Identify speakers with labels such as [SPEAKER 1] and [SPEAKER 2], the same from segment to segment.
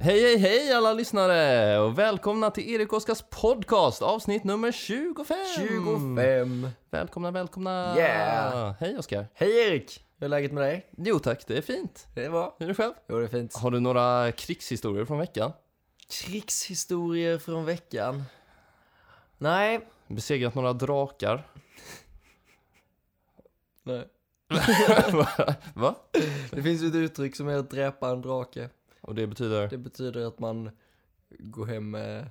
[SPEAKER 1] Hej, hej, hej alla lyssnare och välkomna till Erik Oskars podcast avsnitt nummer 25!
[SPEAKER 2] 25.
[SPEAKER 1] Välkomna, välkomna!
[SPEAKER 2] Yeah.
[SPEAKER 1] Hej Oskar!
[SPEAKER 2] Hej Erik! Hur är läget med dig?
[SPEAKER 1] Jo tack, det är fint.
[SPEAKER 2] Det är bra.
[SPEAKER 1] Hur är det själv?
[SPEAKER 2] Jo, det är fint.
[SPEAKER 1] Har du några krigshistorier från veckan?
[SPEAKER 2] Krigshistorier från veckan. Nej.
[SPEAKER 1] Besegrat några drakar?
[SPEAKER 2] Nej.
[SPEAKER 1] Va?
[SPEAKER 2] Det finns ju ett uttryck som är att dräpa en drake.
[SPEAKER 1] Och det betyder?
[SPEAKER 2] Det betyder att man går hem med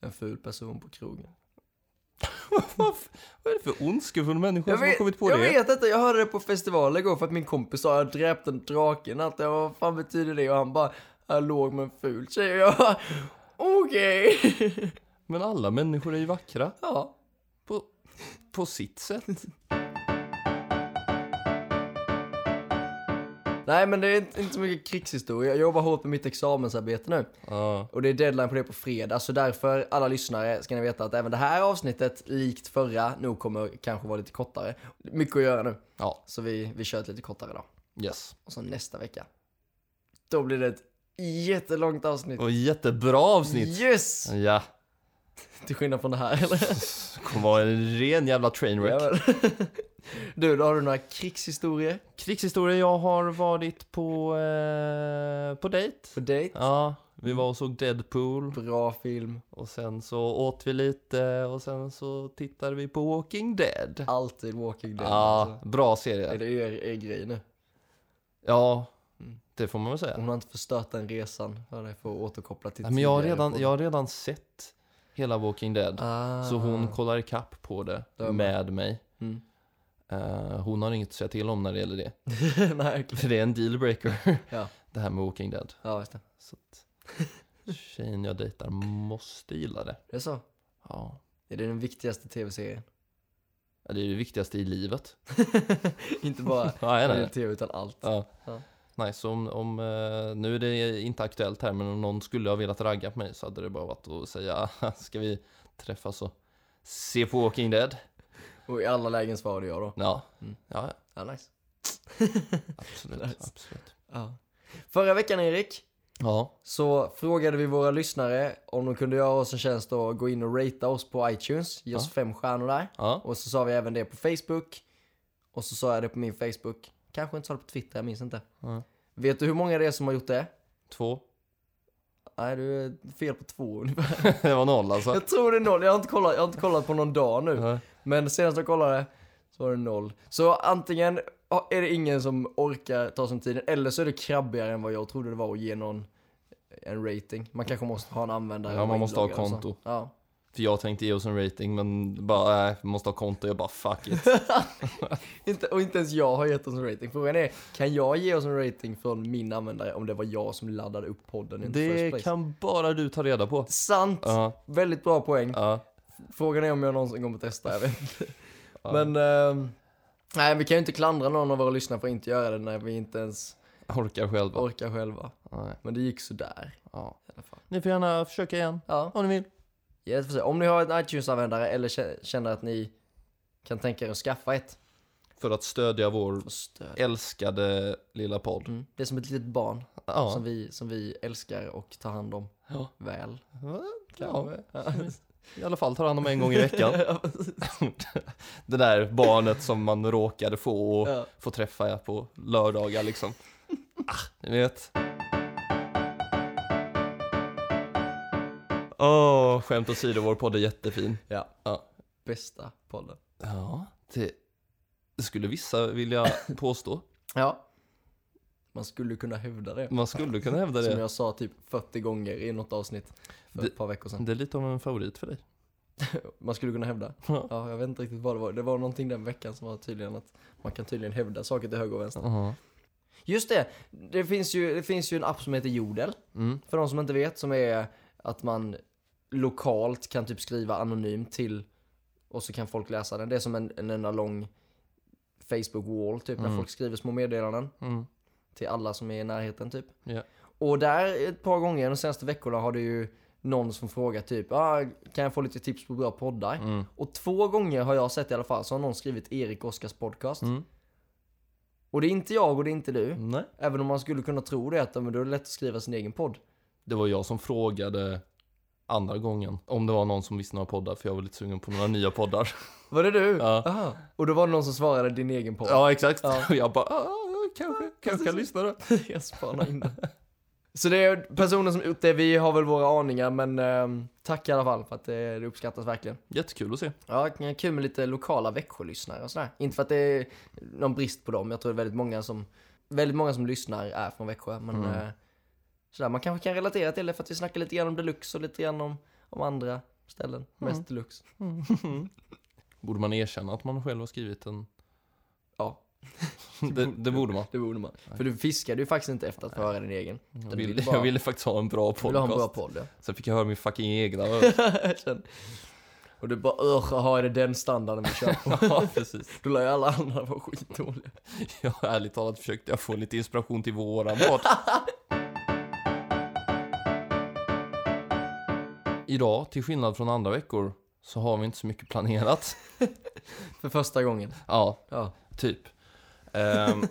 [SPEAKER 2] en ful person på krogen.
[SPEAKER 1] Vad f- vad är det för ondskefull människa som har kommit på
[SPEAKER 2] jag
[SPEAKER 1] det?
[SPEAKER 2] vet inte, jag hörde det på festivalen igår för att min kompis sa jag dräpte en drake i natt. Jag bara, Vad fan betyder det? Och han bara, jag låg med en ful tjej. Och jag bara, okej.
[SPEAKER 1] Men alla människor är ju vackra
[SPEAKER 2] ja.
[SPEAKER 1] på, på sitt sätt.
[SPEAKER 2] Nej men det är inte inte så mycket krigshistoria. Jag jobbar hårt med mitt examensarbete nu.
[SPEAKER 1] Ja.
[SPEAKER 2] Och det är deadline på det på fredag. Så därför alla lyssnare ska ni veta att även det här avsnittet, likt förra, nog kommer kanske vara lite kortare. Mycket att göra nu.
[SPEAKER 1] ja,
[SPEAKER 2] Så vi, vi kör ett lite kortare idag.
[SPEAKER 1] yes.
[SPEAKER 2] Och så nästa vecka. Då blir det ett jättelångt avsnitt.
[SPEAKER 1] Och jättebra avsnitt!
[SPEAKER 2] Yes!
[SPEAKER 1] Ja,
[SPEAKER 2] Till skillnad från det här eller?
[SPEAKER 1] det kommer vara en ren jävla trainwreck.
[SPEAKER 2] Jajamän. du, då har du några krigshistorier
[SPEAKER 1] Krigshistoria, jag har varit på, eh, på dejt.
[SPEAKER 2] på dejt.
[SPEAKER 1] Ja, vi var och såg Deadpool
[SPEAKER 2] Bra film.
[SPEAKER 1] och sen så åt vi lite och sen så tittade vi på Walking Dead.
[SPEAKER 2] Alltid Walking Dead.
[SPEAKER 1] Ja,
[SPEAKER 2] Alltså.
[SPEAKER 1] bra
[SPEAKER 2] Är
[SPEAKER 1] serie.
[SPEAKER 2] det er, er grej nu?
[SPEAKER 1] Ja, det får man väl säga.
[SPEAKER 2] Hon har inte förstört den resan för dig för att återkoppla till
[SPEAKER 1] Nej, men jag har,
[SPEAKER 2] tidigare
[SPEAKER 1] redan,
[SPEAKER 2] podd.
[SPEAKER 1] jag har redan sett hela Walking Dead.
[SPEAKER 2] Ah.
[SPEAKER 1] Så hon kollar ikapp på det
[SPEAKER 2] Det var bra.
[SPEAKER 1] med mig.
[SPEAKER 2] Mm.
[SPEAKER 1] Eh, hon har inget att säga till om när det gäller det.
[SPEAKER 2] Nej, okej.
[SPEAKER 1] För det är en dealbreaker,
[SPEAKER 2] Ja.
[SPEAKER 1] det här med Walking Dead.
[SPEAKER 2] Ja, just det.
[SPEAKER 1] Så att tjejen jag dejtar måste gilla det.
[SPEAKER 2] Det är så.
[SPEAKER 1] Ja.
[SPEAKER 2] Är det den viktigaste tv-serien?
[SPEAKER 1] Ja, Det är det viktigaste i livet.
[SPEAKER 2] inte bara
[SPEAKER 1] Ja, är det
[SPEAKER 2] det
[SPEAKER 1] det?
[SPEAKER 2] tv utan allt.
[SPEAKER 1] Ja.
[SPEAKER 2] Ja.
[SPEAKER 1] Nice, om, om, eh, nu är det inte aktuellt här, men om någon skulle ha velat ragga på mig så hade det bara varit att säga ska vi träffas och se på Walking Dead?
[SPEAKER 2] Och i alla lägen svarade jag då.
[SPEAKER 1] Ja,
[SPEAKER 2] Mm.
[SPEAKER 1] ja ja,
[SPEAKER 2] Ja, nice.
[SPEAKER 1] absolut.
[SPEAKER 2] Nice.
[SPEAKER 1] absolut.
[SPEAKER 2] Ja. Förra veckan, Erik,
[SPEAKER 1] Ja,
[SPEAKER 2] så frågade vi våra lyssnare om de kunde göra oss en tjänst och gå in och ratea oss på iTunes. Ge oss
[SPEAKER 1] Ja.
[SPEAKER 2] fem stjärnor där.
[SPEAKER 1] ja.
[SPEAKER 2] Och så sa vi även det på Facebook. Och så sa jag det på min Facebook. Kanske inte sa det på Twitter, jag minns inte.
[SPEAKER 1] Ja.
[SPEAKER 2] Vet du hur många det är som har gjort det?
[SPEAKER 1] två.
[SPEAKER 2] Nej, du är fel på två ungefär.
[SPEAKER 1] det var noll alltså.
[SPEAKER 2] Jag tror det är noll. Jag har inte kollat, jag har inte kollat på någon dag nu.
[SPEAKER 1] Ja.
[SPEAKER 2] Men senast jag kollade så var det noll. Så antingen ja, är det ingen som orkar ta sig tiden eller så är det krabbigare än vad jag trodde det var att ge någon en rating. Man kanske måste ha en användare.
[SPEAKER 1] Ja, man
[SPEAKER 2] och
[SPEAKER 1] måste ha
[SPEAKER 2] inloggare och så.
[SPEAKER 1] konto.
[SPEAKER 2] Ja.
[SPEAKER 1] För jag tänkte ge oss en rating, men bara, äh, måste ha konto. Jag bara, fuck it.
[SPEAKER 2] Inte, och inte ens jag har gett oss en rating. Frågan är, kan jag ge oss en rating från min användare om det var jag som laddade upp podden? in the first
[SPEAKER 1] Det
[SPEAKER 2] place?
[SPEAKER 1] kan bara du ta reda på.
[SPEAKER 2] Sant!
[SPEAKER 1] Ja,
[SPEAKER 2] Väldigt bra poäng.
[SPEAKER 1] ja.
[SPEAKER 2] Frågan är om jag någonsin kommer testa, jag vet inte.
[SPEAKER 1] Ja.
[SPEAKER 2] Men, ehm, nej vi kan ju inte klandra någon av våra lyssnare för att inte göra det när vi inte ens
[SPEAKER 1] Orkar själva.
[SPEAKER 2] orkar själva.
[SPEAKER 1] Nej,
[SPEAKER 2] Men det gick sådär
[SPEAKER 1] ja.
[SPEAKER 2] i alla fall.
[SPEAKER 1] Ni får gärna försöka igen
[SPEAKER 2] Ja,
[SPEAKER 1] om ni vill.
[SPEAKER 2] ge det ett försök. Om ni har en iTunes-användare eller kä- känner att ni kan tänka er att skaffa ett,
[SPEAKER 1] För att stödja vår
[SPEAKER 2] få stöd.
[SPEAKER 1] älskade lilla podd.
[SPEAKER 2] Mm. Det är som ett litet barn
[SPEAKER 1] Ja.
[SPEAKER 2] som, vi, som vi älskar och tar hand om
[SPEAKER 1] Ja.
[SPEAKER 2] väl.
[SPEAKER 1] ja. I alla fall tar han dem en gång i veckan. Det där barnet som man råkade få och
[SPEAKER 2] Ja.
[SPEAKER 1] få träffa på lördagar liksom. Ah, ni vet. Åh, skämt åsido, vår podd är jättefin.
[SPEAKER 2] Ja.
[SPEAKER 1] Ja.
[SPEAKER 2] Bästa podden.
[SPEAKER 1] Ja, det, det skulle vissa vilja påstå.
[SPEAKER 2] Ja. Man skulle kunna hävda det.
[SPEAKER 1] Man skulle kunna hävda
[SPEAKER 2] Som
[SPEAKER 1] det.
[SPEAKER 2] jag sa typ 40 gånger i något avsnitt för
[SPEAKER 1] Det-
[SPEAKER 2] ett par veckor sedan.
[SPEAKER 1] Det är lite av en favorit för dig.
[SPEAKER 2] Man skulle kunna hävda.
[SPEAKER 1] Ja.
[SPEAKER 2] Ja, jag vet inte riktigt vad det var. Det var någonting den veckan som var tydligen att man kan tydligen hävda saker till höger och vänster.
[SPEAKER 1] Jaha.
[SPEAKER 2] Just det! Det finns ju, det finns ju en app som heter Jodel.
[SPEAKER 1] Mm.
[SPEAKER 2] För de som inte vet som är att man lokalt kan typ skriva anonymt till och så kan folk läsa den. Det är som en, en enda lång Facebook-wall typ
[SPEAKER 1] Mm.
[SPEAKER 2] när folk skriver små meddelanden.
[SPEAKER 1] Mm.
[SPEAKER 2] till alla som är i närheten typ.
[SPEAKER 1] Ja.
[SPEAKER 2] Och där ett par gånger de senaste veckorna har det ju någon som frågar typ ah, kan jag få lite tips på bra poddar?
[SPEAKER 1] Mm.
[SPEAKER 2] Och två gånger har jag sett i alla fall så har någon skrivit Erik Oskars podcast.
[SPEAKER 1] Mm.
[SPEAKER 2] Och det är inte jag och det är inte du.
[SPEAKER 1] Nej.
[SPEAKER 2] Även om man skulle kunna tro det att ja, men då är det lätt att skriva sin egen podd.
[SPEAKER 1] det var jag som frågade andra gången om det var någon som visste några poddar för jag var lite sugen på några nya poddar.
[SPEAKER 2] Var det du?
[SPEAKER 1] Ja.
[SPEAKER 2] Aha. Och då var det någon som svarade din egen podd.
[SPEAKER 1] Ja, exakt.
[SPEAKER 2] Ja.
[SPEAKER 1] Och jag bara, "Ah, kanske, kanske jag lyssnar då.
[SPEAKER 2] Jag spanar in det. Så det är personer som är ute, vi har väl våra aningar men ehm, tack i alla fall för att eh, det, det uppskattas verkligen.
[SPEAKER 1] Jättekul att se.
[SPEAKER 2] Ja, kul med lite lokala Växjölyssnare och sådär. Inte för att det är någon brist på dem, jag tror det är väldigt många som, väldigt många som lyssnar är från Växjö. Men
[SPEAKER 1] Mm.
[SPEAKER 2] eh, sådär, man kanske kan relatera till det för att vi snackar lite grann om deluxe och lite grann om, om andra ställen.
[SPEAKER 1] Mm.
[SPEAKER 2] Mest deluxe.
[SPEAKER 1] Borde man erkänna att man själv har skrivit en...
[SPEAKER 2] Ja.
[SPEAKER 1] det, det borde man.
[SPEAKER 2] Det borde man. För du fiskade ju faktiskt inte efter att få höra din egen.
[SPEAKER 1] Jag
[SPEAKER 2] Den
[SPEAKER 1] ville,
[SPEAKER 2] vill bara-
[SPEAKER 1] jag ville faktiskt ha en bra
[SPEAKER 2] Du ville ha en
[SPEAKER 1] podcast.
[SPEAKER 2] bra podd ja.
[SPEAKER 1] Sen fick jag höra min fucking egna.
[SPEAKER 2] Sen- Och du bara "Ugh, jaha, är det den standarden vi kör på?
[SPEAKER 1] ja, precis.
[SPEAKER 2] Då lär ju alla andra vara skitdåliga.
[SPEAKER 1] Jag har ärligt talat försökte jag få lite inspiration till våran podd. Idag, till skillnad från andra veckor, så har vi inte så mycket planerat.
[SPEAKER 2] För första gången.
[SPEAKER 1] Ja,
[SPEAKER 2] Ja.
[SPEAKER 1] typ. Ehm,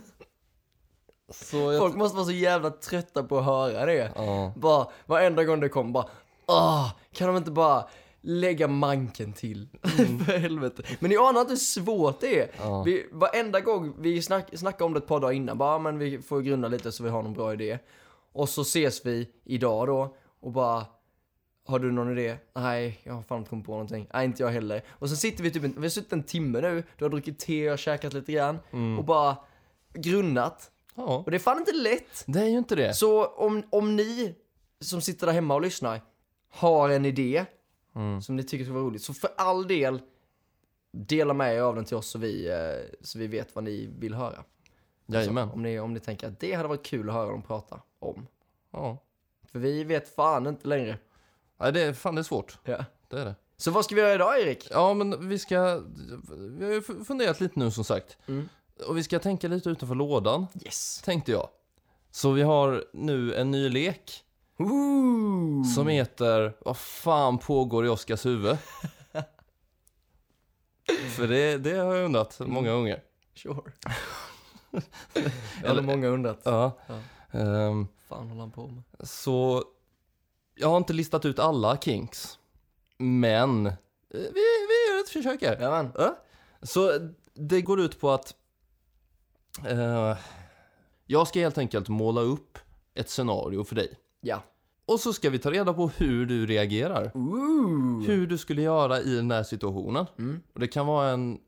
[SPEAKER 1] så jag...
[SPEAKER 2] Folk måste vara så jävla trötta på att höra det.
[SPEAKER 1] Ja.
[SPEAKER 2] Bara, varenda gång det kom bara, ah, kan de inte bara lägga manken till? För helvete. Men ni anar inte hur svårt det är.
[SPEAKER 1] Ja.
[SPEAKER 2] Vi, varenda gång vi snack, snackade om det ett par dagar innan, bara, "Ah, men vi får grunda lite så vi har någon bra idé. Och så ses vi idag då och bara, har du någon idé? Nej, jag har fan inte kommit på någonting. Nej, inte jag heller. Och sen sitter vi typ, en- vi har suttit en timme nu, du har druckit te och käkat lite grann och bara grunnat.
[SPEAKER 1] ja.
[SPEAKER 2] Och det är fan inte lätt.
[SPEAKER 1] Det är ju inte det.
[SPEAKER 2] Så om, om ni som sitter där hemma och lyssnar har en idé
[SPEAKER 1] Mm.
[SPEAKER 2] som ni tycker skulle vara roligt, så för all del dela med er av den till oss så vi, eh, så vi vet vad ni vill höra.
[SPEAKER 1] Jajamän.
[SPEAKER 2] Alltså, om, ni, om ni tänker att det hade varit kul att höra dem prata om.
[SPEAKER 1] Ja.
[SPEAKER 2] För vi vet fan inte längre.
[SPEAKER 1] Nej, det är, fan det är svårt.
[SPEAKER 2] Ja.
[SPEAKER 1] Det är det.
[SPEAKER 2] Så vad ska vi göra idag Erik?
[SPEAKER 1] Ja, men vi ska... Vi har ju funderat lite nu som sagt.
[SPEAKER 2] Mm.
[SPEAKER 1] Och vi ska tänka lite utanför lådan,
[SPEAKER 2] Yes!
[SPEAKER 1] tänkte jag. Så vi har nu en ny lek
[SPEAKER 2] Ooh.
[SPEAKER 1] som heter Vad fan pågår i Oskars huvud? För det, det har jag undrat
[SPEAKER 2] Mm.
[SPEAKER 1] många gånger.
[SPEAKER 2] Sure. Det hade många undrat.
[SPEAKER 1] Ja.
[SPEAKER 2] Ja.
[SPEAKER 1] Ehm,
[SPEAKER 2] fan håller han på med?
[SPEAKER 1] så jag har inte listat ut alla kinks. Men eh, vi, vi gör ett försök här.
[SPEAKER 2] Jajamän.
[SPEAKER 1] Ja. Så det går ut på att eh, jag ska helt enkelt måla upp ett scenario för dig.
[SPEAKER 2] Ja.
[SPEAKER 1] Och så ska vi ta reda på hur du reagerar.
[SPEAKER 2] Ooh.
[SPEAKER 1] Hur du skulle göra i den här situationen.
[SPEAKER 2] Mm.
[SPEAKER 1] Och det kan vara en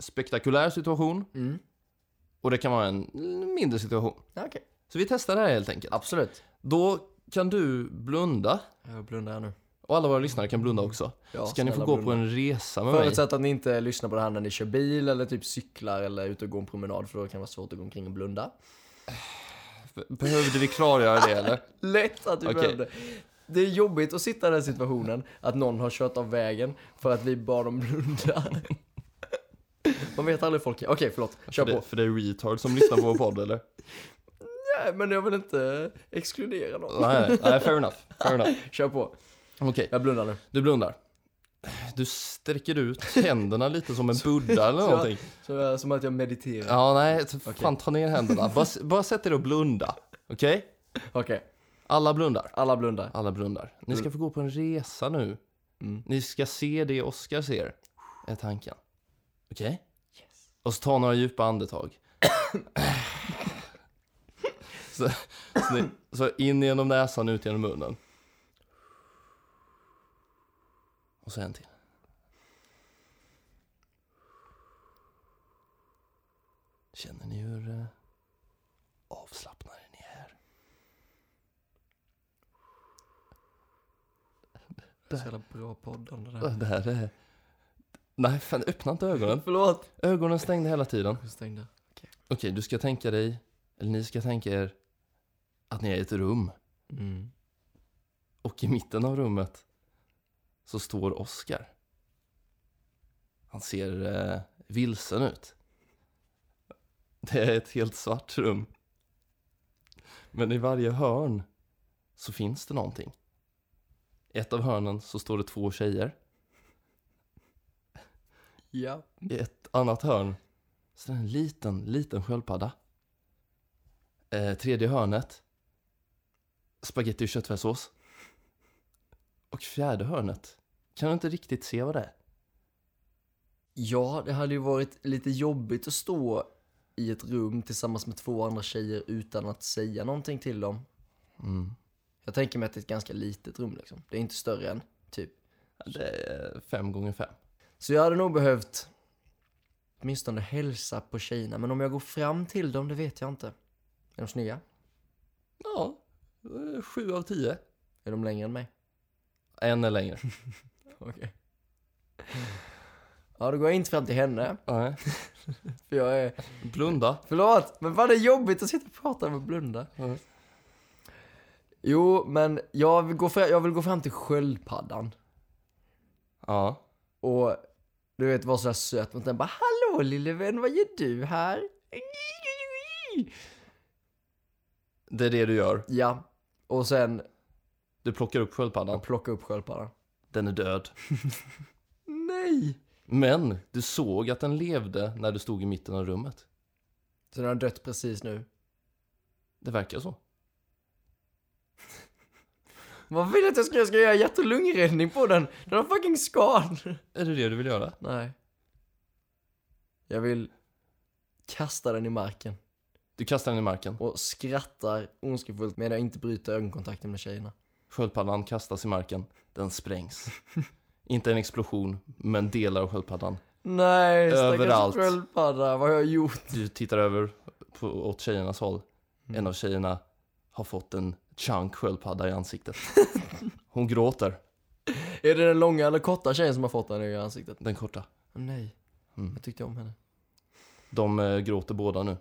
[SPEAKER 1] spektakulär situation
[SPEAKER 2] Mm.
[SPEAKER 1] och det kan vara en mindre situation.
[SPEAKER 2] Okej.
[SPEAKER 1] Så vi testar det här helt enkelt.
[SPEAKER 2] Absolut.
[SPEAKER 1] Då kan du blunda
[SPEAKER 2] Jag blundar här nu.
[SPEAKER 1] och alla våra lyssnare kan blunda också.
[SPEAKER 2] Mm. Ja,
[SPEAKER 1] Ska ni få
[SPEAKER 2] snälla
[SPEAKER 1] gå
[SPEAKER 2] blunda.
[SPEAKER 1] på en resa med mig?
[SPEAKER 2] Förutsatt att ni inte lyssnar på det här när ni kör bil eller typ cyklar eller är ute och går en promenad för då kan det vara svårt att gå omkring och blunda.
[SPEAKER 1] Behövde vi klargöra det eller?
[SPEAKER 2] Lätt att du
[SPEAKER 1] Okej.
[SPEAKER 2] behövde. Det är jobbigt att sitta i den situationen att någon har kört av vägen för att vi bad dem blunda. Man vet aldrig hur folk är. Okej, förlåt. Kör
[SPEAKER 1] för, det,
[SPEAKER 2] på.
[SPEAKER 1] för det är retard som lyssnar på vår podd eller?
[SPEAKER 2] Nej, men jag vill inte exkludera någon.
[SPEAKER 1] Nej, nej, nej, fair enough. Fair enough.
[SPEAKER 2] Kör på.
[SPEAKER 1] Okej,
[SPEAKER 2] Jag blundar nu.
[SPEAKER 1] du blundar. Du sträcker ut händerna lite som en buddha eller
[SPEAKER 2] så-
[SPEAKER 1] någonting.
[SPEAKER 2] Så, jag- som att jag mediterar.
[SPEAKER 1] Ja, nej, så
[SPEAKER 2] Okej.
[SPEAKER 1] fan ta ner händerna. Bara, bara sätt er och blunda. Okej?
[SPEAKER 2] Okej,
[SPEAKER 1] Alla blundar.
[SPEAKER 2] alla blundar.
[SPEAKER 1] Alla blundar. Ni ska få gå på en resa nu.
[SPEAKER 2] Mm.
[SPEAKER 1] Ni ska se det Oscar ser, är tanken. Okej? Och så ta några djupa andetag. så, så, ni, så in genom näsan, ut genom munnen. Och så en till. Känner ni hur eh, avslappnade ni är?
[SPEAKER 2] Det är så jävla bra poddande
[SPEAKER 1] Ö,
[SPEAKER 2] där.
[SPEAKER 1] Det här är... Nej, fan, öppna inte ögonen.
[SPEAKER 2] Förlåt.
[SPEAKER 1] Ögonen stängde hela tiden.
[SPEAKER 2] Jag stängde.
[SPEAKER 1] Okej, du ska tänka dig, eller ni ska tänka er, att ni är i ett rum.
[SPEAKER 2] Mm.
[SPEAKER 1] Och i mitten av rummet så står Oscar. Han ser eh, vilsen ut. Det är ett helt svart rum. Men i varje hörn så finns det någonting. I ett av hörnen så står det två tjejer.
[SPEAKER 2] Ja.
[SPEAKER 1] I ett annat hörn så är det en liten, liten sköldpadda. Eh, tredje hörnet spagetti och köttfärssås. Och fjärde hörnet. Kan du inte riktigt se vad det är?
[SPEAKER 2] Ja, det hade ju varit lite jobbigt att stå i ett rum tillsammans med två andra tjejer utan att säga någonting till dem.
[SPEAKER 1] Mm.
[SPEAKER 2] Jag tänker mig att det är ett ganska litet rum liksom. Det är inte större än, typ.
[SPEAKER 1] Det är fem gånger fem.
[SPEAKER 2] Så jag hade nog behövt åtminstone hälsa på tjejerna. Men om jag går fram till dem, det vet jag inte. Är de snygga?
[SPEAKER 1] Ja, eh, sju av tio.
[SPEAKER 2] Är de längre än mig?
[SPEAKER 1] En är längre.
[SPEAKER 2] Okej. Ja, då går jag inte fram till henne.
[SPEAKER 1] Nej.
[SPEAKER 2] För jag är...
[SPEAKER 1] Blunda.
[SPEAKER 2] Förlåt, men vad det är jobbigt att sitta och prata med blunda.
[SPEAKER 1] Mm.
[SPEAKER 2] Jo, men jag vill, gå fram, jag vill gå fram till sköldpaddan.
[SPEAKER 1] Ja.
[SPEAKER 2] Och du vet, vara sådär söt mot den. Bara, hallå lille vän, vad gör du här?
[SPEAKER 1] Det är det du gör.
[SPEAKER 2] Ja, och sen
[SPEAKER 1] Du plockar upp sköldpaddan.
[SPEAKER 2] plocka upp sköldpaddan.
[SPEAKER 1] Den är död.
[SPEAKER 2] Nej!
[SPEAKER 1] Men du såg att den levde när du stod i mitten av rummet.
[SPEAKER 2] Så den har dött precis nu.
[SPEAKER 1] Det verkar så.
[SPEAKER 2] Vad vill du att jag ska, jag ska göra hjärt och lungräddning på den? Den har fucking skad.
[SPEAKER 1] Är det det du vill göra?
[SPEAKER 2] Nej. Jag vill kasta den i marken
[SPEAKER 1] Du kastar den i marken.
[SPEAKER 2] och skrattar ondskefullt medan jag inte bryter ögonkontakten med tjejerna.
[SPEAKER 1] Sköldpaddan kastas i marken. Den sprängs. Inte en explosion, men delar av sköldpaddan.
[SPEAKER 2] Nej,
[SPEAKER 1] Överallt.
[SPEAKER 2] stackars sköldpadda, vad har jag gjort?
[SPEAKER 1] Du tittar över på, åt tjejernas håll. En av tjejerna har fått en chunk sköldpadda i ansiktet. Hon gråter,
[SPEAKER 2] Är det den långa eller korta tjejen som har fått den i ansiktet?
[SPEAKER 1] den korta.
[SPEAKER 2] Nej,
[SPEAKER 1] Mm.
[SPEAKER 2] jag tyckte om henne.
[SPEAKER 1] De eh, gråter båda nu.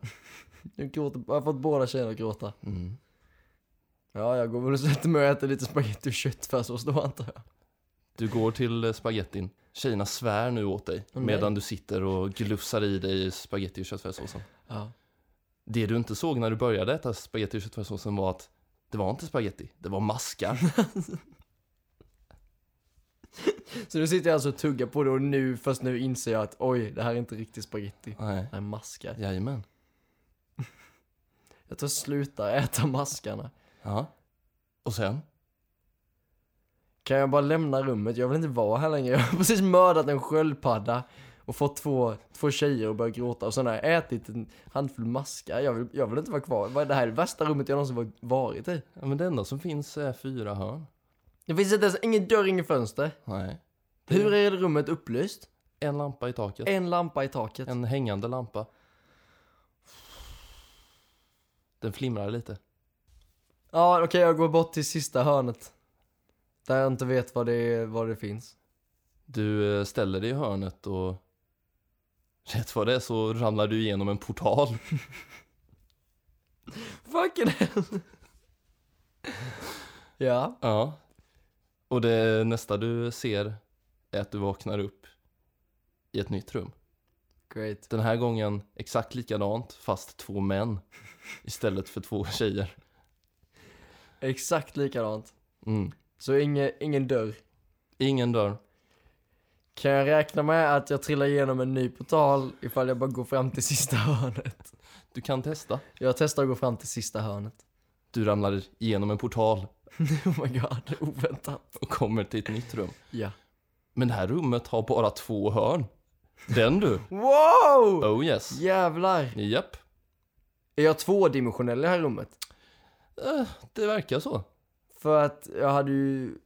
[SPEAKER 2] Jag, gråter, jag har fått båda tjejerna att gråta.
[SPEAKER 1] Mm.
[SPEAKER 2] Ja, jag går väl och sätter mig och äter lite spagetti och köttfärssås då antar jag.
[SPEAKER 1] Du går till eh, spagettin. Tjejerna svär nu åt dig
[SPEAKER 2] Åh, nej.
[SPEAKER 1] medan du sitter och glufsar i dig spagetti och köttfärssåsen.
[SPEAKER 2] Ja.
[SPEAKER 1] Det du inte såg när du började äta spagetti och köttfärssåsen var att det var inte spagetti, det var maskar.
[SPEAKER 2] Så nu sitter jag alltså och tuggar på det och nu, först nu inser jag att oj, det här är inte riktigt spagetti.
[SPEAKER 1] Nej,
[SPEAKER 2] Det är maskar.
[SPEAKER 1] jajamän.
[SPEAKER 2] Jag tror jag slutar äta maskarna.
[SPEAKER 1] Ja. Och sen?
[SPEAKER 2] Kan jag bara lämna rummet? Jag vill inte vara här längre. Jag har precis mördat en sköldpadda och fått två, två tjejer och börjat gråta och sen har jag ätit en handfull maskar. Jag vill, jag vill inte vara kvar. Vad- Det här är det värsta rummet jag någonsin var- varit i.
[SPEAKER 1] Ja, men det enda som finns är fyra hörn.
[SPEAKER 2] Det finns inte ens ingen dörr, ingen fönster.
[SPEAKER 1] Nej.
[SPEAKER 2] Hur är det rummet upplyst?
[SPEAKER 1] En lampa i taket.
[SPEAKER 2] En lampa i taket.
[SPEAKER 1] En hängande lampa. Den flimrar lite.
[SPEAKER 2] Ja, okej, jag går bort till sista hörnet. Där jag inte vet vad det, vad det finns.
[SPEAKER 1] Du eh, ställer dig i hörnet och rätt vad det är så ramlar du igenom en portal.
[SPEAKER 2] Fucking hell! ja.
[SPEAKER 1] Ja. Och det nästa du ser är att du vaknar upp i ett nytt rum.
[SPEAKER 2] Great.
[SPEAKER 1] Den här gången exakt likadant fast två män istället för två tjejer.
[SPEAKER 2] Exakt likadant.
[SPEAKER 1] Mm.
[SPEAKER 2] Så ingen, ingen dörr.
[SPEAKER 1] Ingen dörr.
[SPEAKER 2] Kan jag räkna med att jag trillar igenom en ny portal ifall jag bara går fram till sista hörnet?
[SPEAKER 1] Du kan testa.
[SPEAKER 2] Jag testar att gå fram till sista hörnet.
[SPEAKER 1] Du ramlar igenom en portal
[SPEAKER 2] Oh my god, oväntat.
[SPEAKER 1] och kommer till ett nytt rum.
[SPEAKER 2] Ja.
[SPEAKER 1] Men det här rummet har bara två hörn. Den du.
[SPEAKER 2] Wow!
[SPEAKER 1] Oh yes.
[SPEAKER 2] Jävlar!
[SPEAKER 1] Japp.
[SPEAKER 2] Är jag tvådimensionell i det här rummet?
[SPEAKER 1] Eh, Det verkar så.
[SPEAKER 2] För att jag hade ju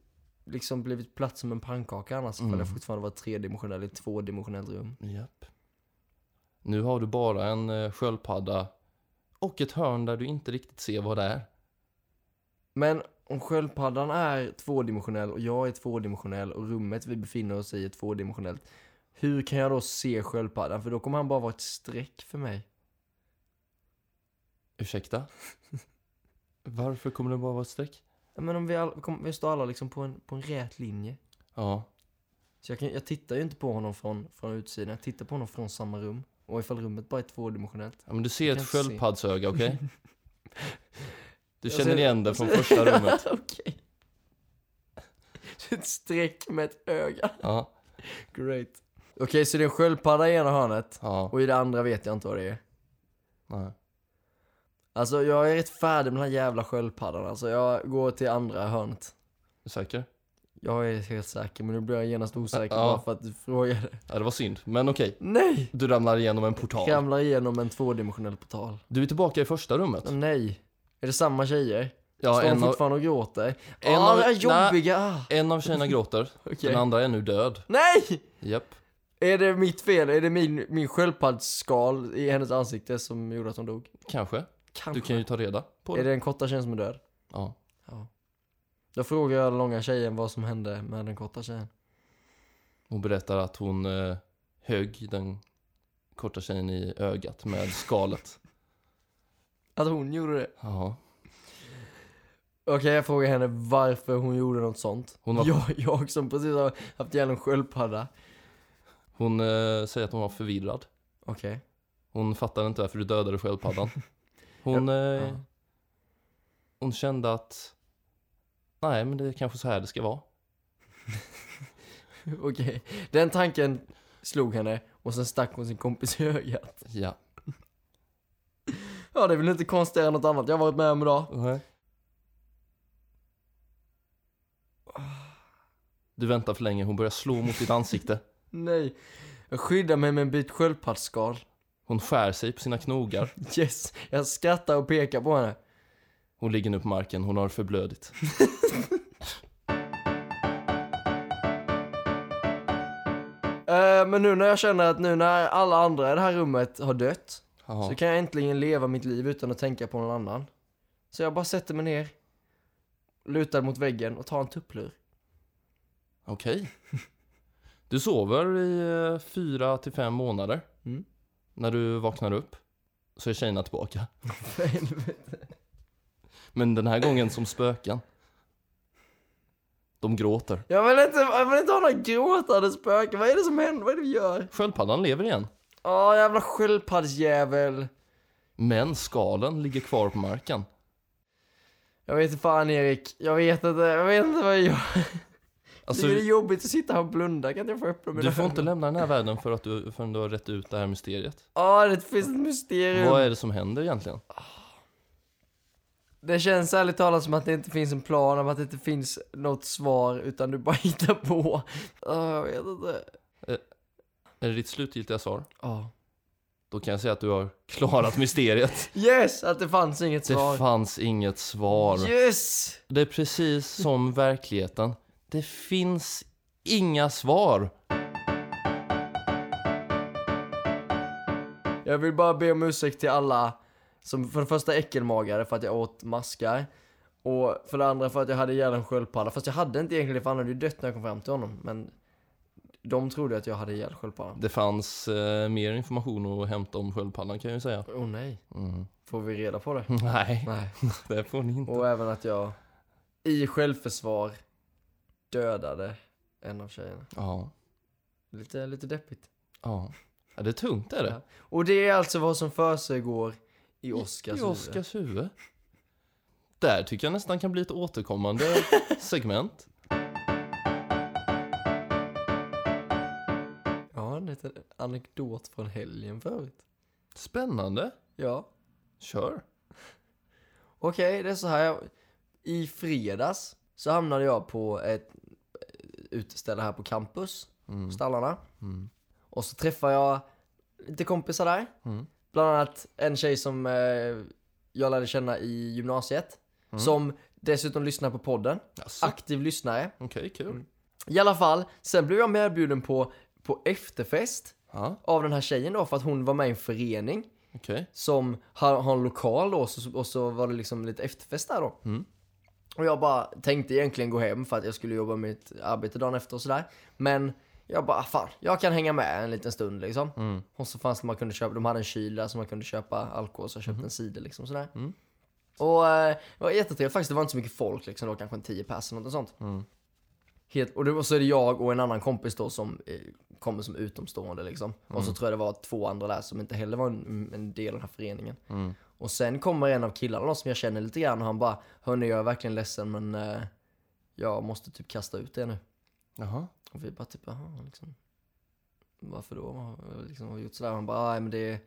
[SPEAKER 2] liksom blivit platt som en pannkaka annars ifall
[SPEAKER 1] Mm.
[SPEAKER 2] jag fortfarande var tredimensionell i ett tvådimensionellt rum.
[SPEAKER 1] Japp. Nu har du bara en eh, sköldpadda och ett hörn där du inte riktigt ser vad det är.
[SPEAKER 2] Men om sköldpaddan är tvådimensionell och jag är tvådimensionell och rummet vi befinner oss i är tvådimensionellt. Hur kan jag då se sköldpaddan? För då kommer han bara vara ett streck för mig.
[SPEAKER 1] Ursäkta? Varför kommer det bara vara ett streck?
[SPEAKER 2] Ja, Men om vi, all, kom, vi står alla liksom på en, på en rät linje.
[SPEAKER 1] Ja.
[SPEAKER 2] Så jag, kan, jag tittar ju inte på honom från, från utsidan, jag tittar på honom från samma rum. Och ifall rummet bara är tvådimensionellt.
[SPEAKER 1] ja men du ser
[SPEAKER 2] Jag
[SPEAKER 1] ett
[SPEAKER 2] kan se.
[SPEAKER 1] sköldpaddsöga, okej? Du
[SPEAKER 2] Jag
[SPEAKER 1] känner
[SPEAKER 2] ser-
[SPEAKER 1] igen det från första rummet.
[SPEAKER 2] Okej. Ett streck med ett öga.
[SPEAKER 1] Ja.
[SPEAKER 2] Great. Okej, så det är en sköldpadda i ena hörnet.
[SPEAKER 1] ja.
[SPEAKER 2] Och i det andra vet jag inte vad det är.
[SPEAKER 1] Nej.
[SPEAKER 2] Alltså jag är rätt färdig med den här jävla sköldpaddan. Alltså jag går till andra hörnet.
[SPEAKER 1] Är du säker?
[SPEAKER 2] Jag är helt säker, men nu blir jag genast osäker
[SPEAKER 1] Ja.
[SPEAKER 2] bara för att du frågade.
[SPEAKER 1] Ja, det var synd. Men okej,
[SPEAKER 2] Nej!
[SPEAKER 1] du ramlar igenom en portal.
[SPEAKER 2] Ramlar igenom en tvådimensionell portal.
[SPEAKER 1] Du är tillbaka i första rummet.
[SPEAKER 2] Men nej. Är det samma tjejer?
[SPEAKER 1] Ja,
[SPEAKER 2] Mm. Står de
[SPEAKER 1] en av,
[SPEAKER 2] fortfarande och gråter?
[SPEAKER 1] en
[SPEAKER 2] ah,
[SPEAKER 1] av-
[SPEAKER 2] det är
[SPEAKER 1] nej.
[SPEAKER 2] jobbiga! Ah,
[SPEAKER 1] en av tjejerna gråter,
[SPEAKER 2] okej.
[SPEAKER 1] den andra är nu död.
[SPEAKER 2] Nej!
[SPEAKER 1] Japp.
[SPEAKER 2] Är det mitt fel? Är det min, min sköldpaddsskal i hennes ansikte som gjorde att hon dog?
[SPEAKER 1] Kanske.
[SPEAKER 2] Kanske.
[SPEAKER 1] Du kan ju ta reda på
[SPEAKER 2] Är
[SPEAKER 1] det.
[SPEAKER 2] det den korta tjejen som är död?
[SPEAKER 1] Ja.
[SPEAKER 2] Ja. Då frågar jag den långa tjejen vad som hände med den korta tjejen.
[SPEAKER 1] Hon berättar att hon eh, högg den korta tjejen i ögat med skalet.
[SPEAKER 2] Att hon gjorde det.
[SPEAKER 1] Ja.
[SPEAKER 2] Okej, jag frågar henne varför hon gjorde något sånt.
[SPEAKER 1] Hon var-
[SPEAKER 2] Jag, jag som precis har haft ihjäl en sköldpadda.
[SPEAKER 1] Hon eh, säger att hon var förvirrad.
[SPEAKER 2] Okej.
[SPEAKER 1] Hon fattar inte varför du dödade sköldpaddan. Hon, eh,
[SPEAKER 2] ja.
[SPEAKER 1] hon kände att nej, men det är kanske så här det ska vara.
[SPEAKER 2] Okej. Den tanken slog henne och sen stack hon sin kompis i ögat.
[SPEAKER 1] Ja.
[SPEAKER 2] Ja, det är väl inte konstigare än något annat jag har varit med om idag.
[SPEAKER 1] Du väntar för länge, hon börjar slå mot ditt ansikte.
[SPEAKER 2] Nej. Jag skyddar mig med en bit sköldpaddsskal.
[SPEAKER 1] Hon skär sig på sina knogar.
[SPEAKER 2] Yes. Jag skrattar och pekar på henne.
[SPEAKER 1] Hon ligger nu på marken, hon har förblödit.
[SPEAKER 2] Eh, men nu när jag känner att nu när alla andra i det här rummet har dött.
[SPEAKER 1] Jaha.
[SPEAKER 2] Så kan jag äntligen leva mitt liv utan att tänka på någon annan. Så jag bara sätter mig ner, lutar mot väggen och tar en tupplur.
[SPEAKER 1] Okej. Du sover i eh, fyra till fem månader.
[SPEAKER 2] Mm.
[SPEAKER 1] När du vaknar upp så är tjejerna tillbaka.
[SPEAKER 2] För helvete.
[SPEAKER 1] Men den här gången som spöken. De gråter.
[SPEAKER 2] jag, vill inte, jag vill inte ha några gråtande spöken, vad är det som händer? Vad är det vi gör?
[SPEAKER 1] Sköldpaddan lever igen.
[SPEAKER 2] Ja, jävla sköldpaddsjävel.
[SPEAKER 1] Men skalen ligger kvar på marken.
[SPEAKER 2] Jag vet inte fan Erik, jag vet inte, jag vet inte vad jag gör.
[SPEAKER 1] Alltså,
[SPEAKER 2] det är jobbigt att sitta här och blunda, kan inte jag få öppna mina
[SPEAKER 1] du får inte
[SPEAKER 2] ögon?
[SPEAKER 1] lämna den här världen för att du, förrän du har rätt ut det här mysteriet.
[SPEAKER 2] Ja, det finns ett mysterium.
[SPEAKER 1] Vad är det som händer egentligen?
[SPEAKER 2] Det känns ärligt talat som att det inte finns en plan, om att det inte finns något svar, utan du bara hittar på. Ja, jag vet inte.
[SPEAKER 1] Är det ditt slutgiltiga svar?
[SPEAKER 2] Ja.
[SPEAKER 1] Då kan jag säga att du har klarat mysteriet.
[SPEAKER 2] Yes! Att det fanns inget
[SPEAKER 1] Det
[SPEAKER 2] svar.
[SPEAKER 1] fanns inget svar.
[SPEAKER 2] Yes!
[SPEAKER 1] Det är precis som verkligheten. Det finns inga svar.
[SPEAKER 2] Jag vill bara be om ursäkt till alla som för det första äckelmagare för att jag åt maskar. Och för det andra för att jag hade ihjäl en sköldpadda. Fast jag hade inte egentligen det, för han hade ju dött när jag kom fram till honom. Men de trodde att jag hade ihjäl sköldpaddan.
[SPEAKER 1] Det fanns eh, mer information att hämta om sköldpaddan kan jag ju säga.
[SPEAKER 2] Åh nej.
[SPEAKER 1] Mm.
[SPEAKER 2] Får vi reda på det?
[SPEAKER 1] Nej,
[SPEAKER 2] Nej.
[SPEAKER 1] det får ni inte.
[SPEAKER 2] Och även att jag i självförsvar dödade en av tjejerna.
[SPEAKER 1] Ja,
[SPEAKER 2] Lite, lite deppigt.
[SPEAKER 1] ja. ja, det är tungt är det.
[SPEAKER 2] Ja. Och det är alltså vad som försiggår i Oscars
[SPEAKER 1] I
[SPEAKER 2] huvud.
[SPEAKER 1] Oscars huvud. Där tycker jag nästan kan bli ett återkommande segment.
[SPEAKER 2] Ja, en liten anekdot från helgen förut.
[SPEAKER 1] Spännande.
[SPEAKER 2] Ja.
[SPEAKER 1] Kör.
[SPEAKER 2] Okej, det är så här. I fredags så hamnade jag på ett eh, uteställe här på campus,
[SPEAKER 1] Mm.
[SPEAKER 2] stallarna.
[SPEAKER 1] Mm.
[SPEAKER 2] Och så träffade jag lite kompisar där.
[SPEAKER 1] Mm.
[SPEAKER 2] Bland annat en tjej som eh, jag lärde känna i gymnasiet.
[SPEAKER 1] Mm.
[SPEAKER 2] Som dessutom lyssnar på podden.
[SPEAKER 1] Jaså? Mm.
[SPEAKER 2] Aktiv lyssnare.
[SPEAKER 1] Ah, Okej, kul.
[SPEAKER 2] I alla fall, sen blev jag medbjuden på, på efterfest
[SPEAKER 1] Ja,
[SPEAKER 2] av den här tjejen då för att hon var med i en förening
[SPEAKER 1] okej.
[SPEAKER 2] som har, har en lokal då och så, och så var det liksom lite efterfest där då.
[SPEAKER 1] Mm.
[SPEAKER 2] Och jag bara tänkte egentligen gå hem för att jag skulle jobba med mitt arbete dagen efter och sådär. Men jag bara, fan, jag kan hänga med en liten stund liksom.
[SPEAKER 1] Mm.
[SPEAKER 2] Och så fanns det man kunde köpa, de hade en kyl där som man kunde köpa alkohol så jag köpte en cider liksom sådär.
[SPEAKER 1] Mhm. Mm.
[SPEAKER 2] Och eh, det var jättetrevligt faktiskt, det var inte så mycket folk liksom, det var kanske en 10 pers eller något sånt.
[SPEAKER 1] Mm.
[SPEAKER 2] Helt, och, det, och så är det jag och en annan kompis då som eh, kommer som utomstående liksom. Och så tror jag det var två andra där som inte heller var en, en del av den här föreningen.
[SPEAKER 1] Mm.
[SPEAKER 2] Och sen kommer en av killarna då, som jag känner lite grann och han bara Hörni jag är verkligen ledsen men eh, jag måste typ kasta ut er nu.
[SPEAKER 1] Jaha.
[SPEAKER 2] Och vi bara typ, jaha, liksom. Varför då? Liksom, har vi gjort sådär? Han bara, nej men det,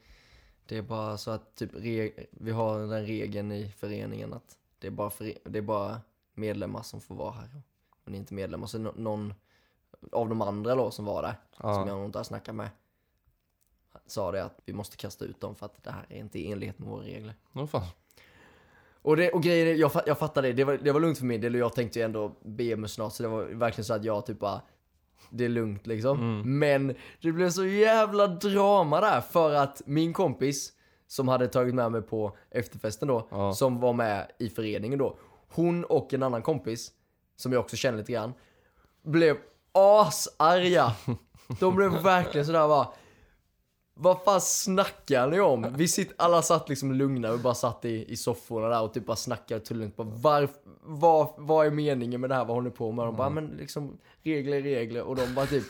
[SPEAKER 2] Det är bara så att typ re- vi har den regeln i föreningen att det är bara, före- det är bara medlemmar som får vara här. Och ni är inte medlemmar så är det nå- någon av de andra då som var där, som
[SPEAKER 1] Ja.
[SPEAKER 2] jag nog inte har snackat med, sa det att vi måste kasta ut dem för att det här är inte i enlighet med våra regler.
[SPEAKER 1] Nå fan.
[SPEAKER 2] Och, det, och grejen är, jag, fa- jag fattar det, det var, det var lugnt för min del och jag tänkte ju ändå be mig snart så det var verkligen så att jag typ bara, det är lugnt liksom.
[SPEAKER 1] Mm.
[SPEAKER 2] Men det blev så jävla drama där för att min kompis som hade tagit med mig på efterfesten då,
[SPEAKER 1] Ja.
[SPEAKER 2] som var med i föreningen då, hon och en annan kompis, som jag också känner lite grann, blev asarga. De blev verkligen sådär bara, vad fan snackar ni om? Vi sitt, alla satt liksom lugna och bara satt i, i sofforna där och typ bara snackade tulligt. Bara, var, var, vad är meningen med det här? Vad håller ni på med? De bara, men liksom regler, är regler. Och de bara typ,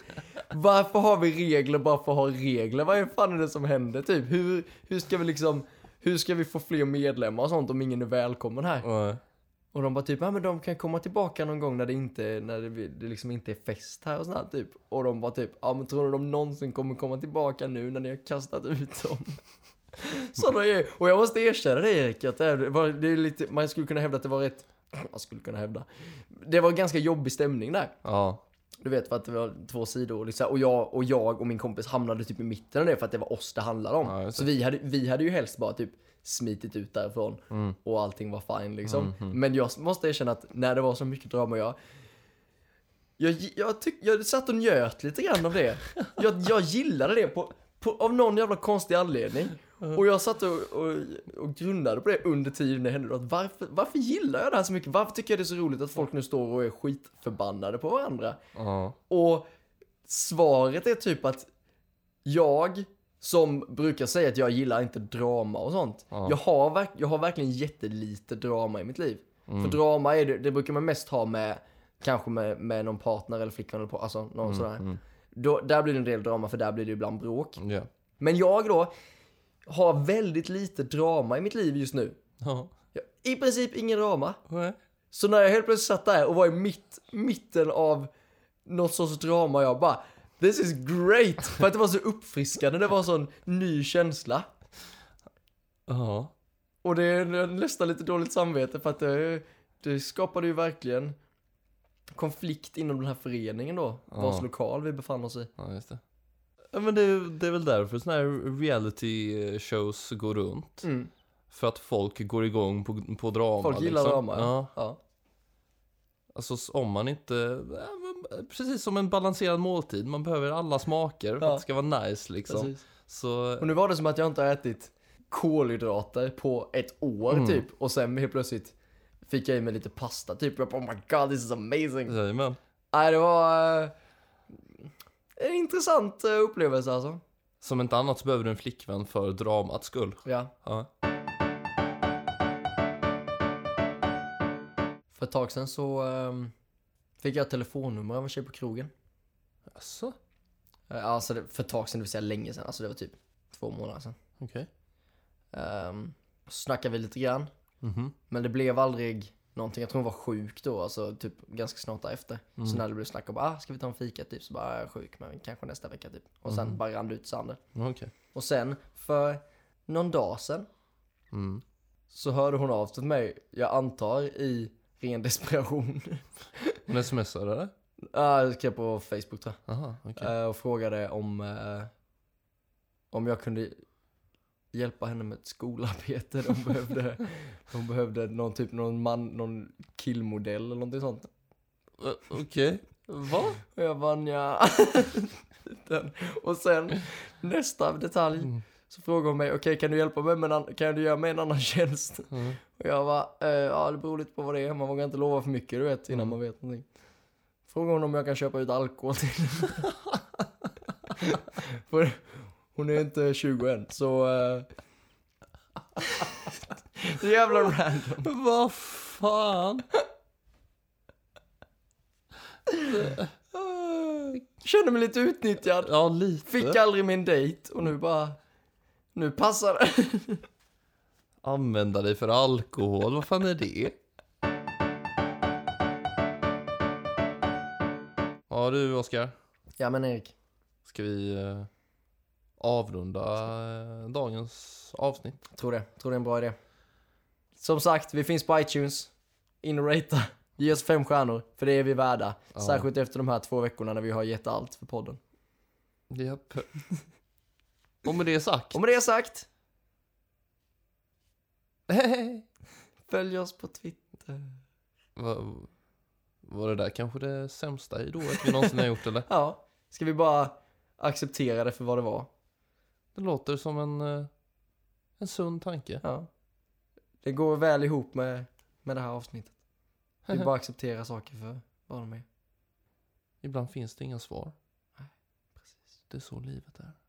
[SPEAKER 2] varför har vi regler bara för att ha regler? Vad är fan är det som händer? Typ, hur, hur ska vi liksom, hur ska vi få fler medlemmar och sånt om ingen är välkommen här?
[SPEAKER 1] Nej.
[SPEAKER 2] Och de bara typ, ja men de kan komma tillbaka någon gång när det inte, när det, det liksom inte är fest här och sånt här, typ. Och de bara typ, ja men tror du de någonsin kommer komma tillbaka nu när ni har kastat ut dem? Sådana är Och jag måste erkänna det Erik, att det var, det är lite, man skulle kunna hävda att det var rätt, man skulle kunna hävda. Det var ganska jobbig stämning där.
[SPEAKER 1] Ja.
[SPEAKER 2] Du vet för att det var två sidor och liksom, och jag och jag och min kompis hamnade typ i mitten av det för att det var oss det handlade om.
[SPEAKER 1] Ja, just det.
[SPEAKER 2] så vi hade, vi hade ju helst bara typ smitit ut därifrån
[SPEAKER 1] Mm.
[SPEAKER 2] och allting var fine liksom. Men jag måste erkänna att när det var så mycket drama jag jag, jag, tyck, jag satt och njöt lite grann av det. Jag, jag gillade det på, på, av någon jävla konstig anledning.
[SPEAKER 1] Mm.
[SPEAKER 2] Och jag satt och, och, och grundade på det under tiden det hände. Att varför, varför gillar jag det här så mycket? Varför tycker jag det är så roligt att folk nu står och är skitförbannade på varandra?
[SPEAKER 1] Ja.
[SPEAKER 2] Och svaret är typ att jag som brukar säga att jag gillar inte drama och sånt.
[SPEAKER 1] Ja.
[SPEAKER 2] Jag, har verk- jag har verkligen jättelite drama i mitt liv.
[SPEAKER 1] Mm.
[SPEAKER 2] För drama är det, det brukar man mest ha med kanske med, med någon partner eller flickvän eller på, alltså någon
[SPEAKER 1] Mm,
[SPEAKER 2] sådär. Då, där blir det en del drama för där blir det ibland bråk.
[SPEAKER 1] Ja.
[SPEAKER 2] Men jag då har väldigt lite drama i mitt liv just nu.
[SPEAKER 1] Ja.
[SPEAKER 2] Jag, I princip ingen drama.
[SPEAKER 1] Nej.
[SPEAKER 2] Så när jag helt plötsligt satt där och var i mitt, mitten av något sorts drama, jag bara This is great! För att det var så uppfriskande, det var en sån ny känsla.
[SPEAKER 1] Ja.
[SPEAKER 2] Och det är nästan lite dåligt samvete för att det, det skapade ju verkligen konflikt inom den här föreningen då, vars
[SPEAKER 1] Ja.
[SPEAKER 2] lokal vi befann oss i.
[SPEAKER 1] Ja, just det. Ja, men det, det är väl därför såna här reality eh, shows går runt.
[SPEAKER 2] Mm.
[SPEAKER 1] För att folk går igång på, på drama.
[SPEAKER 2] Folk gillar
[SPEAKER 1] liksom.
[SPEAKER 2] drama, ja.
[SPEAKER 1] Ja.
[SPEAKER 2] Ja.
[SPEAKER 1] Alltså om man inte, ja, men precis som en balanserad måltid, man behöver alla smaker för
[SPEAKER 2] Ja.
[SPEAKER 1] att det ska vara nice liksom.
[SPEAKER 2] Precis.
[SPEAKER 1] Så,
[SPEAKER 2] Och nu var det som att jag inte har ätit kolhydrater på ett år typ och sen helt plötsligt fick jag i mig lite pasta typ. Jag bara oh my god this is amazing.
[SPEAKER 1] jajamän.
[SPEAKER 2] Nej, det var eh, en intressant eh, upplevelse alltså.
[SPEAKER 1] Som inte annat så behöver du en flickvän för dramats skull.
[SPEAKER 2] Ja.
[SPEAKER 1] Ja.
[SPEAKER 2] För ett tag sedan så ehm, fick jag ett telefonnummer av en tjej på krogen.
[SPEAKER 1] Jaså?
[SPEAKER 2] Eh, Alltså det, för ett tag sedan, det vill säga länge sedan. Alltså det var typ två månader sedan.
[SPEAKER 1] Okej.
[SPEAKER 2] Um, så snackade vi lite grann.
[SPEAKER 1] Mhm.
[SPEAKER 2] Men det blev aldrig någonting. Jag tror hon var sjuk då, alltså typ ganska snart därefter. Så när det blev snack om, ah, ska vi ta en fika typ? Så bara, "Ah, jag är sjuk, men kanske nästa vecka typ. Och sen bara rann det ut i sanden.
[SPEAKER 1] Okej.
[SPEAKER 2] Och sen för någon dag sedan
[SPEAKER 1] Mm.
[SPEAKER 2] så hörde hon av sig till mig, jag antar i ren desperation.
[SPEAKER 1] Hon smsade eller? Äh,
[SPEAKER 2] Ah, Jag skrev på Facebook tror
[SPEAKER 1] Aha, okej.
[SPEAKER 2] jag. Eh, Och frågade om, eh, om jag kunde hjälpa henne med ett skolarbete. De behövde, de behövde någon typ, någon man, någon killmodell eller någonting sånt.
[SPEAKER 1] Eh, Okej. Va?
[SPEAKER 2] Och jag bara ja. Och sen nästa detalj.
[SPEAKER 1] Mm,
[SPEAKER 2] Så frågade hon mig, okej kan du hjälpa mig med en annan, kan du göra mig en annan tjänst?
[SPEAKER 1] Mm.
[SPEAKER 2] Och jag var eh, ja det beror lite på vad det är, man vågar inte lova för mycket du vet innan man vet någonting. Frågade hon om jag kan köpa ut alkohol till För hon är inte 20 än, så... Eh... det är jävla random.
[SPEAKER 1] Vad fan?
[SPEAKER 2] Kände mig lite utnyttjad.
[SPEAKER 1] Ja, lite.
[SPEAKER 2] Fick aldrig min dejt och nu bara... Nu passar det.
[SPEAKER 1] Använda dig för alkohol, vad fan är det? Ja du Oskar,
[SPEAKER 2] Ja men Erik,
[SPEAKER 1] ska vi eh, avrunda eh, dagens avsnitt.
[SPEAKER 2] Tror det. Tror det är en bra idé. Som sagt, vi finns på iTunes. In och ratea. Ge oss fem stjärnor, för det är vi värda.
[SPEAKER 1] Ja.
[SPEAKER 2] Särskilt efter de här två veckorna när vi har gett allt för podden.
[SPEAKER 1] Japp. Och med det sagt.
[SPEAKER 2] Och med det sagt,
[SPEAKER 1] Hej.
[SPEAKER 2] följ oss på Twitter.
[SPEAKER 1] Vad- Var det där kanske det sämsta idolet vi någonsin har gjort eller?
[SPEAKER 2] Ja, ska vi bara acceptera det för vad det var?
[SPEAKER 1] Det låter som en, eh, en sund tanke.
[SPEAKER 2] Ja. Det går väl ihop med, med det här avsnittet. Vi bara accepterar saker för vad de är.
[SPEAKER 1] Ibland finns det inga svar.
[SPEAKER 2] Nej, precis.
[SPEAKER 1] Det är så livet är.